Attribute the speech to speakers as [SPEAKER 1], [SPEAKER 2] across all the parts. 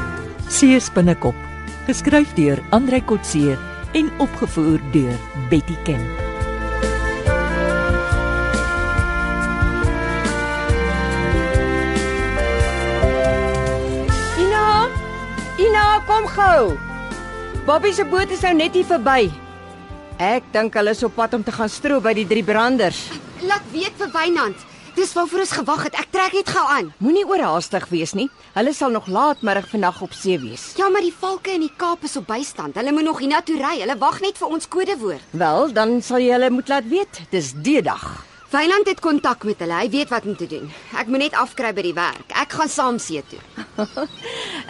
[SPEAKER 1] Kotse se binnekop, geskryf deur Andrei Kotse en opgevoer deur Betty Ken.
[SPEAKER 2] Ina! Ina, kom gou. Bobbie se boot is nou net hier verby. Ek dink hulle is op pad om te gaan stroop by die drie branders.
[SPEAKER 3] Laat weet vir Wynand. Dis waarvoor ons gewag het. Ek trek net gou aan.
[SPEAKER 2] Moenie oorhaastig wees nie. Hulle sal nog laatmiddag vandag op see wees.
[SPEAKER 3] Ja, maar die valke in die Kaap is op bystand. Hulle moet nog hiernatoe ry. Hulle wag net vir ons kodewoord.
[SPEAKER 2] Wel, dan sal jy hulle moet laat weet. Dis die dag.
[SPEAKER 3] Wynand het kontak met hulle. Hy weet wat om te doen. Ek moet net afkry by die werk. Ek gaan saam see toe.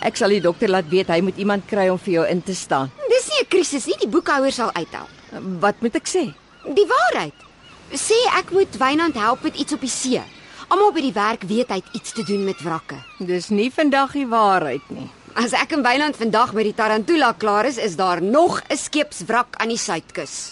[SPEAKER 2] Ek sal die dokter laat weet hy moet iemand kry om vir jou in te staan.
[SPEAKER 3] Dis nie 'n krisis nie. Die boekhouer sal uithelp.
[SPEAKER 2] Wat moet ek sê?
[SPEAKER 3] Die waarheid. Sê ek moet Wynand help met iets op die see. Almal by die werk weet hy het iets te doen met wrakke.
[SPEAKER 2] Dis nie vandag die waarheid nie.
[SPEAKER 3] As ek en Wynand vandag by die Tarantula klaar is, is daar nog 'n skeepswrak aan die suidkus.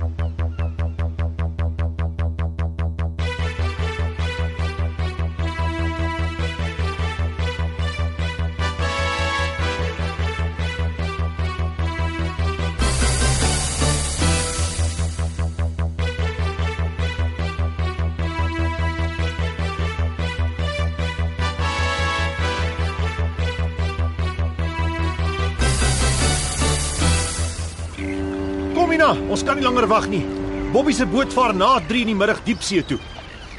[SPEAKER 4] Kom Ina, ons kan nie langer wag nie. Bobbie se boot vaar na 3 in die middag diepsee toe.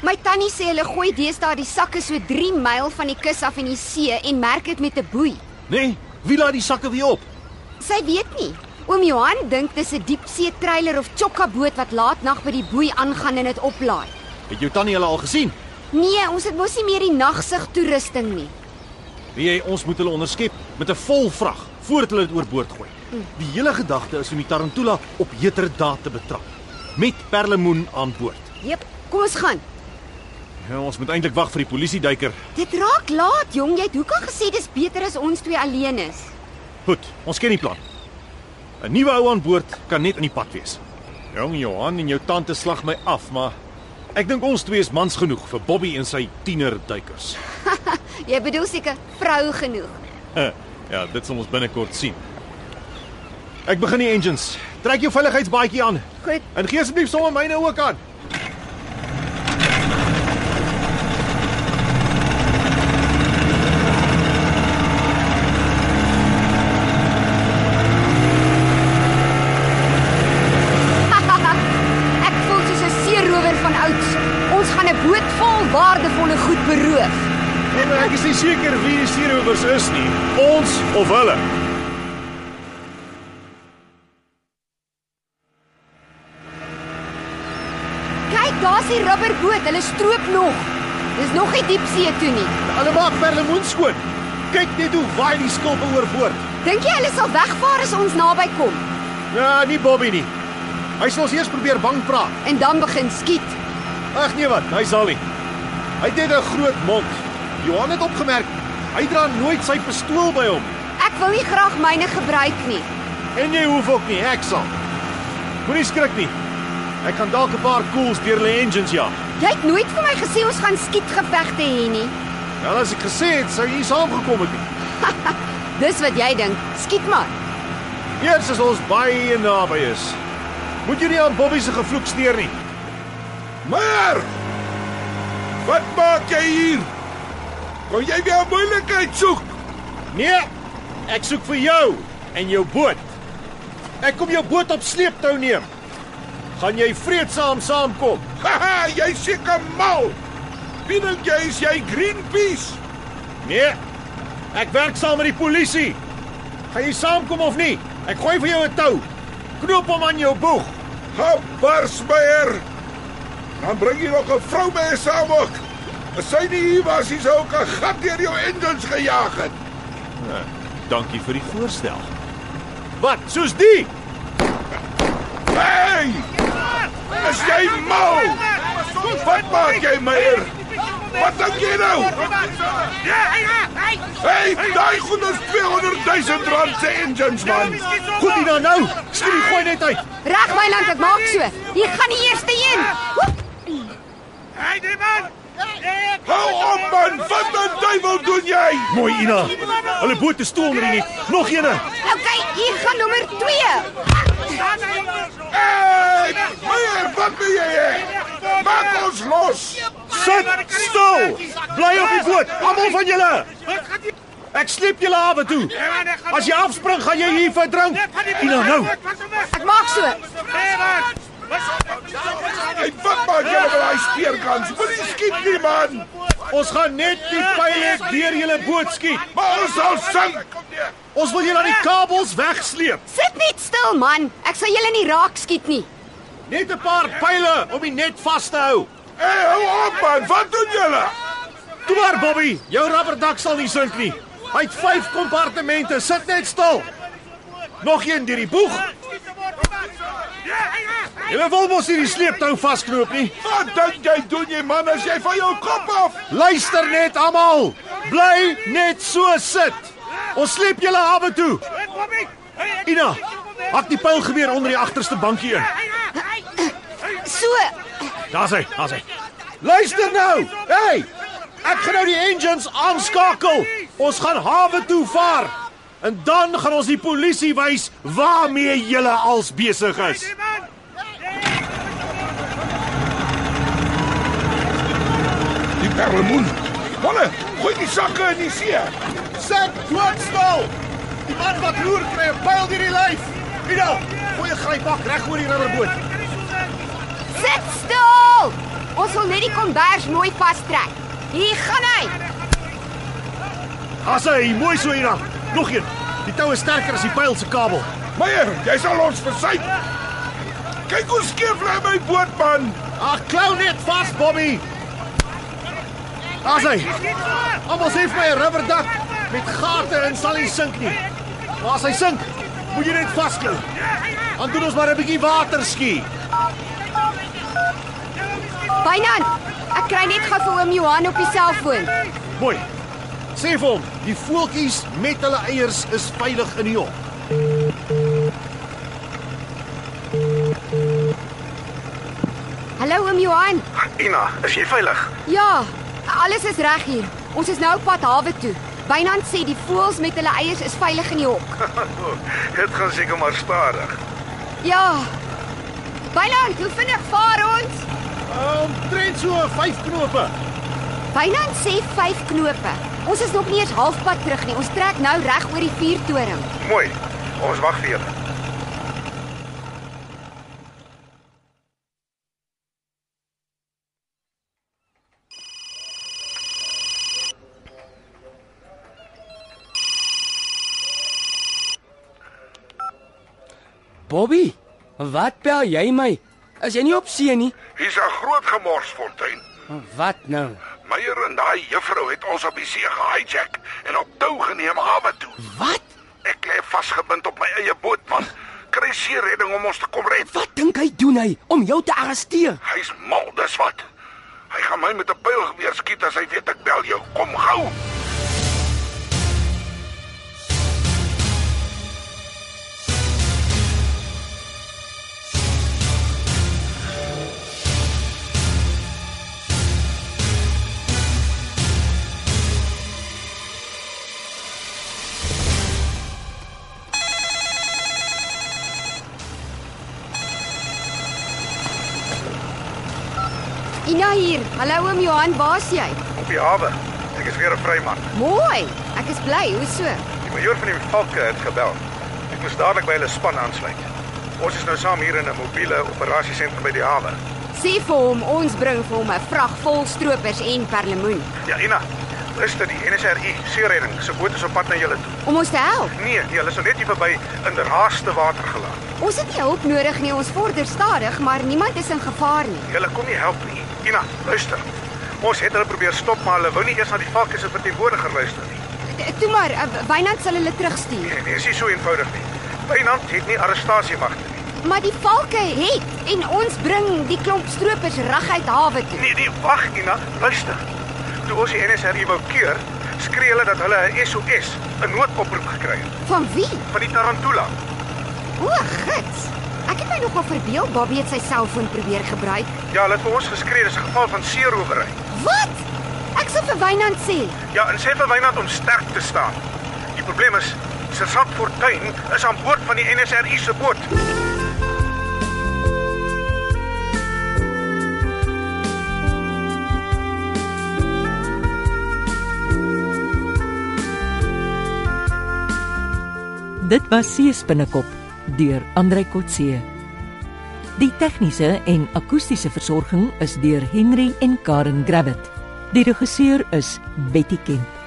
[SPEAKER 3] My tannie sê hulle gooi deesdae die sakke so 3 myl van die kus af in die see en merk dit met 'n boei.
[SPEAKER 4] Né? Nee, wie laat die sakke weer op?
[SPEAKER 3] Sy weet nie. Oom Johan dink dis 'n diepsee treiler of chokka boot wat laat nag by die boei aangaan en dit oplaai.
[SPEAKER 4] Het jou tannie hulle al gesien?
[SPEAKER 3] Nee, ons het mos nie meer die nagsig toerusting nie.
[SPEAKER 4] Wie jy ons moet hulle onderskep met 'n vol vrag voordat hulle dit oorboord gooi. Die hele gedagte is om die Tarantula op heterdaad te betrap met perlemoen aan boord.
[SPEAKER 3] Jep, kom ons gaan.
[SPEAKER 4] Ja, ons moet eintlik wag vir die polisieduiker.
[SPEAKER 3] Dit raak laat, jong. Jy het hoekom gesê dis beter as ons twee alleen is?
[SPEAKER 4] Goed, ons ken die plan. 'n Nuwe ou aan boord kan net in die pad wees. Jong Johan en jou tante slag my af, maar ek dink ons twee is mans genoeg vir Bobby en sy tienerduikers.
[SPEAKER 3] Jy bedoel seker vrou genoeg.
[SPEAKER 4] ja, dit sal ons binnekort sien. Ek begin die engines. Trek jou veiligheidsbaadjie aan
[SPEAKER 3] Goed.
[SPEAKER 4] en gee asseblief sommer myne ook aan.
[SPEAKER 3] Ek voel soos 'n seerower van ouds. Ons gaan 'n boot vol waardevolle goed beroof.
[SPEAKER 4] Nee, maar Ek is nie seker wie die seerowers is nie, ons of hulle.
[SPEAKER 3] Kyk, daar's die rubberboot. Hulle stroop nog. Dis nog nie diepsee toe nie.
[SPEAKER 4] Hulle maak perlemoen skoon. Kyk net hoe waai die skulpe oorboord.
[SPEAKER 3] Dink jy hulle sal wegvaar as ons naby kom
[SPEAKER 4] Ja, nie Bobby nie. Hy sal ons eers probeer bang praat.
[SPEAKER 3] en dan begin skiet?
[SPEAKER 4] Ag nee wat, hy sal nie. Hy het net 'n groot mond. Johan het opgemerk, hy dra nooit sy pistool by hom.
[SPEAKER 3] Ek wil nie graag myne gebruik nie.
[SPEAKER 4] En jy hoef ook nie, ek sal. Moenie skrik nie. Ek gaan dalk 'n paar koels deur hulle engines jaag.
[SPEAKER 3] Jy het nooit vir my gesê ons gaan skietgevegte hê nie.
[SPEAKER 4] Wel as ek gesê het sou jy nie saamgekom het nie.
[SPEAKER 3] Dis wat jy dink. Skiet maar.
[SPEAKER 4] Eers as ons baie naby is. Moet jy nie aan Bobby se gevloek steur nie.
[SPEAKER 5] Maar! Wat maak jy hier? Kom jy weer moeilikheid soek?
[SPEAKER 4] Nee, ek soek vir jou en jou boot. Ek kom jou boot op sleeptou neem. Gaan jy vreedsaam saamkom?
[SPEAKER 5] Haha, jy seker mal. Wie dink jy is jy Greenpeace?
[SPEAKER 4] Nee. Ek werk saam met die polisie. Gaan jy saamkom of nie? Ek gooi vir jou 'n tou. Knoop hom aan jou boeg.
[SPEAKER 5] Habarsmeyer. Dan bring jy nog 'n vrou mee saam ook. As sy nie hier was, hy sou ook 'n gat deur jou engines gejaag het.
[SPEAKER 4] Nee, Dankie vir die voorstel. Wat? Soos die?
[SPEAKER 5] Hey! Is jy mal? Wat maak jy, Meyer? Wat dink jy nou? Hey, daai goed is 200 000 rand se engines man.
[SPEAKER 4] Goed nie nou nou. Skiet die gooi net uit.
[SPEAKER 3] Reg my land, ek maak so. Hier gaan die eerste een. Hoep.
[SPEAKER 5] Hey, die man. Hou op man, wat die duiwel doen jy?
[SPEAKER 4] Mooi Ina. Hulle boot is toe onder die net. Nog eene.
[SPEAKER 3] Okay, hier gaan nommer 2.
[SPEAKER 5] Hey, Meyer, wat wil jy hê? Maak ons los.
[SPEAKER 4] Sit stil. Bly op die boot, almal van julle. Ek sleep julle hawe toe. As jy afspring, gaan jy hier verdrink. Ina, nou.
[SPEAKER 3] Ek maak so.
[SPEAKER 5] Hey, wat maak jy met daai speerkans? Moenie skiet nie man.
[SPEAKER 4] Ons gaan net die pyle deur julle boot skiet.
[SPEAKER 5] Maar ons sal sink.
[SPEAKER 4] Ons wil julle aan die kabels wegsleep.
[SPEAKER 3] Sit net stil man. Ek sal julle nie raak skiet nie.
[SPEAKER 4] Net 'n paar pyle om die net vas te hou.
[SPEAKER 5] Hey, hou op man, wat doen julle?
[SPEAKER 4] Toe maar Bobby, jou rubberdak sal nie sink nie. Hy het 5 kompartemente, sit net stil. Nog een deur die boeg. Julle wil mos nie die sleeptou vasknoop nie.
[SPEAKER 5] Wat dink jy doen jy man as jy van jou kop af?
[SPEAKER 4] Luister net almal. Bly net so sit. Ons sleep julle hawe toe. Ina, hak die pyl geweer onder die agterste bankie in.
[SPEAKER 3] So,
[SPEAKER 4] Daar's hy, daar's hy. Luister nou. Hey! Ek gaan nou die engines aanskakel. Ons gaan hawe toe vaar. En dan gaan ons die polisie wys waarmee julle als besig is.
[SPEAKER 5] Die perlemoen. Manne, gooi die sakke in die see.
[SPEAKER 4] Sit doodstil. Die man wat loer kry 'n pyl deur die nou, lyf. Ida, gooi 'n grypbak reg oor die rubberboot.
[SPEAKER 3] sit stil. Ons wil net die kombers mooi vastrek. Hier gaan hy.
[SPEAKER 4] Daar's hy, mooi so Ida. Nog een. Die tou is sterker as die pyl se kabel.
[SPEAKER 5] Meyer, jy sal ons versuip. Kyk hoe skeef lê my boot man.
[SPEAKER 4] Ag, klou net vas, Bobby. Daar's hy. Almal sê vir my 'n rubberdak met gate en sal nie sink nie. Maar as hy sink, moet jy net vasklou. Dan doen ons maar 'n bietjie water ski.
[SPEAKER 3] Bynan, ek kry net gou vir oom Johan op die selfoon.
[SPEAKER 4] Mooi. Sê vir hom, die voeltjies met hulle eiers is veilig in die hok.
[SPEAKER 3] Hallo oom Johan.
[SPEAKER 6] Ina, is jy veilig?
[SPEAKER 3] Ja, alles is reg hier. Ons is nou op pad hawe toe. Bynan sê die voëls met hulle eiers is veilig in die hok.
[SPEAKER 6] Dit gaan seker maar stadig.
[SPEAKER 3] Ja. Bynan, hoe vinnig vaar ons?
[SPEAKER 4] Omtrent so 5 knope.
[SPEAKER 3] Bynan sê 5 knope. Ons is nog nie eens halfpad terug nie. Ons trek nou reg oor die vuurtoring.
[SPEAKER 6] Mooi. Ons wag vir julle.
[SPEAKER 7] Bobby, wat bel jy my? Is jy nie op see nie?
[SPEAKER 5] Hier's 'n groot gemorsfontein.
[SPEAKER 7] Wat nou?
[SPEAKER 5] Meyer en daai juffrou het ons op die see gehijack en op tou geneem hawe toe.
[SPEAKER 7] Wat?
[SPEAKER 5] Ek lê vasgebind op my eie boot man. Kry seer redding om ons te kom red.
[SPEAKER 7] Wat dink hy doen hy om jou te arresteer?
[SPEAKER 5] Hy's mal, dis wat. Hy gaan my met 'n pyl weer skiet as hy weet ek bel jou. Kom gou.
[SPEAKER 3] Ina hier. Hallo oom Johan, waar's jy?
[SPEAKER 6] Op die hawe. Ek is weer 'n vryman.
[SPEAKER 3] Mooi. Ek is bly. Hoe so?
[SPEAKER 6] Die majoor van die Valke het gebel. Ek moes dadelik by hulle span aansluit. Ons is nou saam hier in 'n mobiele operasiesentrum by die hawe.
[SPEAKER 3] Sê vir hom ons bring vir hom 'n vrag vol stroopers en perlemoen
[SPEAKER 6] Ja, Ina. Is dit die NSRI seeredding se boot is op pad na julle toe?
[SPEAKER 3] om ons te help.
[SPEAKER 6] Nee, nee, hulle is nou net hier verby in raaste water gelaat.
[SPEAKER 3] Ons het nie hulp nodig nie. Ons vorder stadig, maar niemand is in gevaar nie.
[SPEAKER 6] Julle kom nie help nie. Ina, luister. Ons het hulle probeer stop, maar hulle wou nie eers na die Valke se verteenwoordiger luister nie.
[SPEAKER 3] Toe maar, eh, Wynand sal hulle terugstuur.
[SPEAKER 6] Nee, nee, is nie so eenvoudig nie. Wynand het nie arrestasiemagte nie.
[SPEAKER 3] Maar die valke het en ons bring die klomp stroopers reg uit hawe toe.
[SPEAKER 6] Nee, nee, wag, Ina, luister. Toe ons die NSRI wou keer, skree hulle dat hulle 'n SOS, 'n noodoproep gekry
[SPEAKER 5] Nee.
[SPEAKER 6] het
[SPEAKER 3] Van wie?
[SPEAKER 6] van die Tarantula.
[SPEAKER 3] O, gits. Ek het my nogal verbeel Bobby het sy selfoon probeer gebruik.
[SPEAKER 6] Ja, hulle het vir ons geskree dis 'n geval van seerowery.
[SPEAKER 3] Wat? Ek sal vir Wynand sê.
[SPEAKER 5] Ja, en sê vir Wynand om sterk te staan. Die probleem is Sergeant Fortuin is aan boord van die NSRI se boot.
[SPEAKER 2] Dit was Seespinnekop deur Andrei Kotse. Die tegniese en akoestiese versorging is deur Henry en Karen Gravett. Die regisseur is Betty Kemp.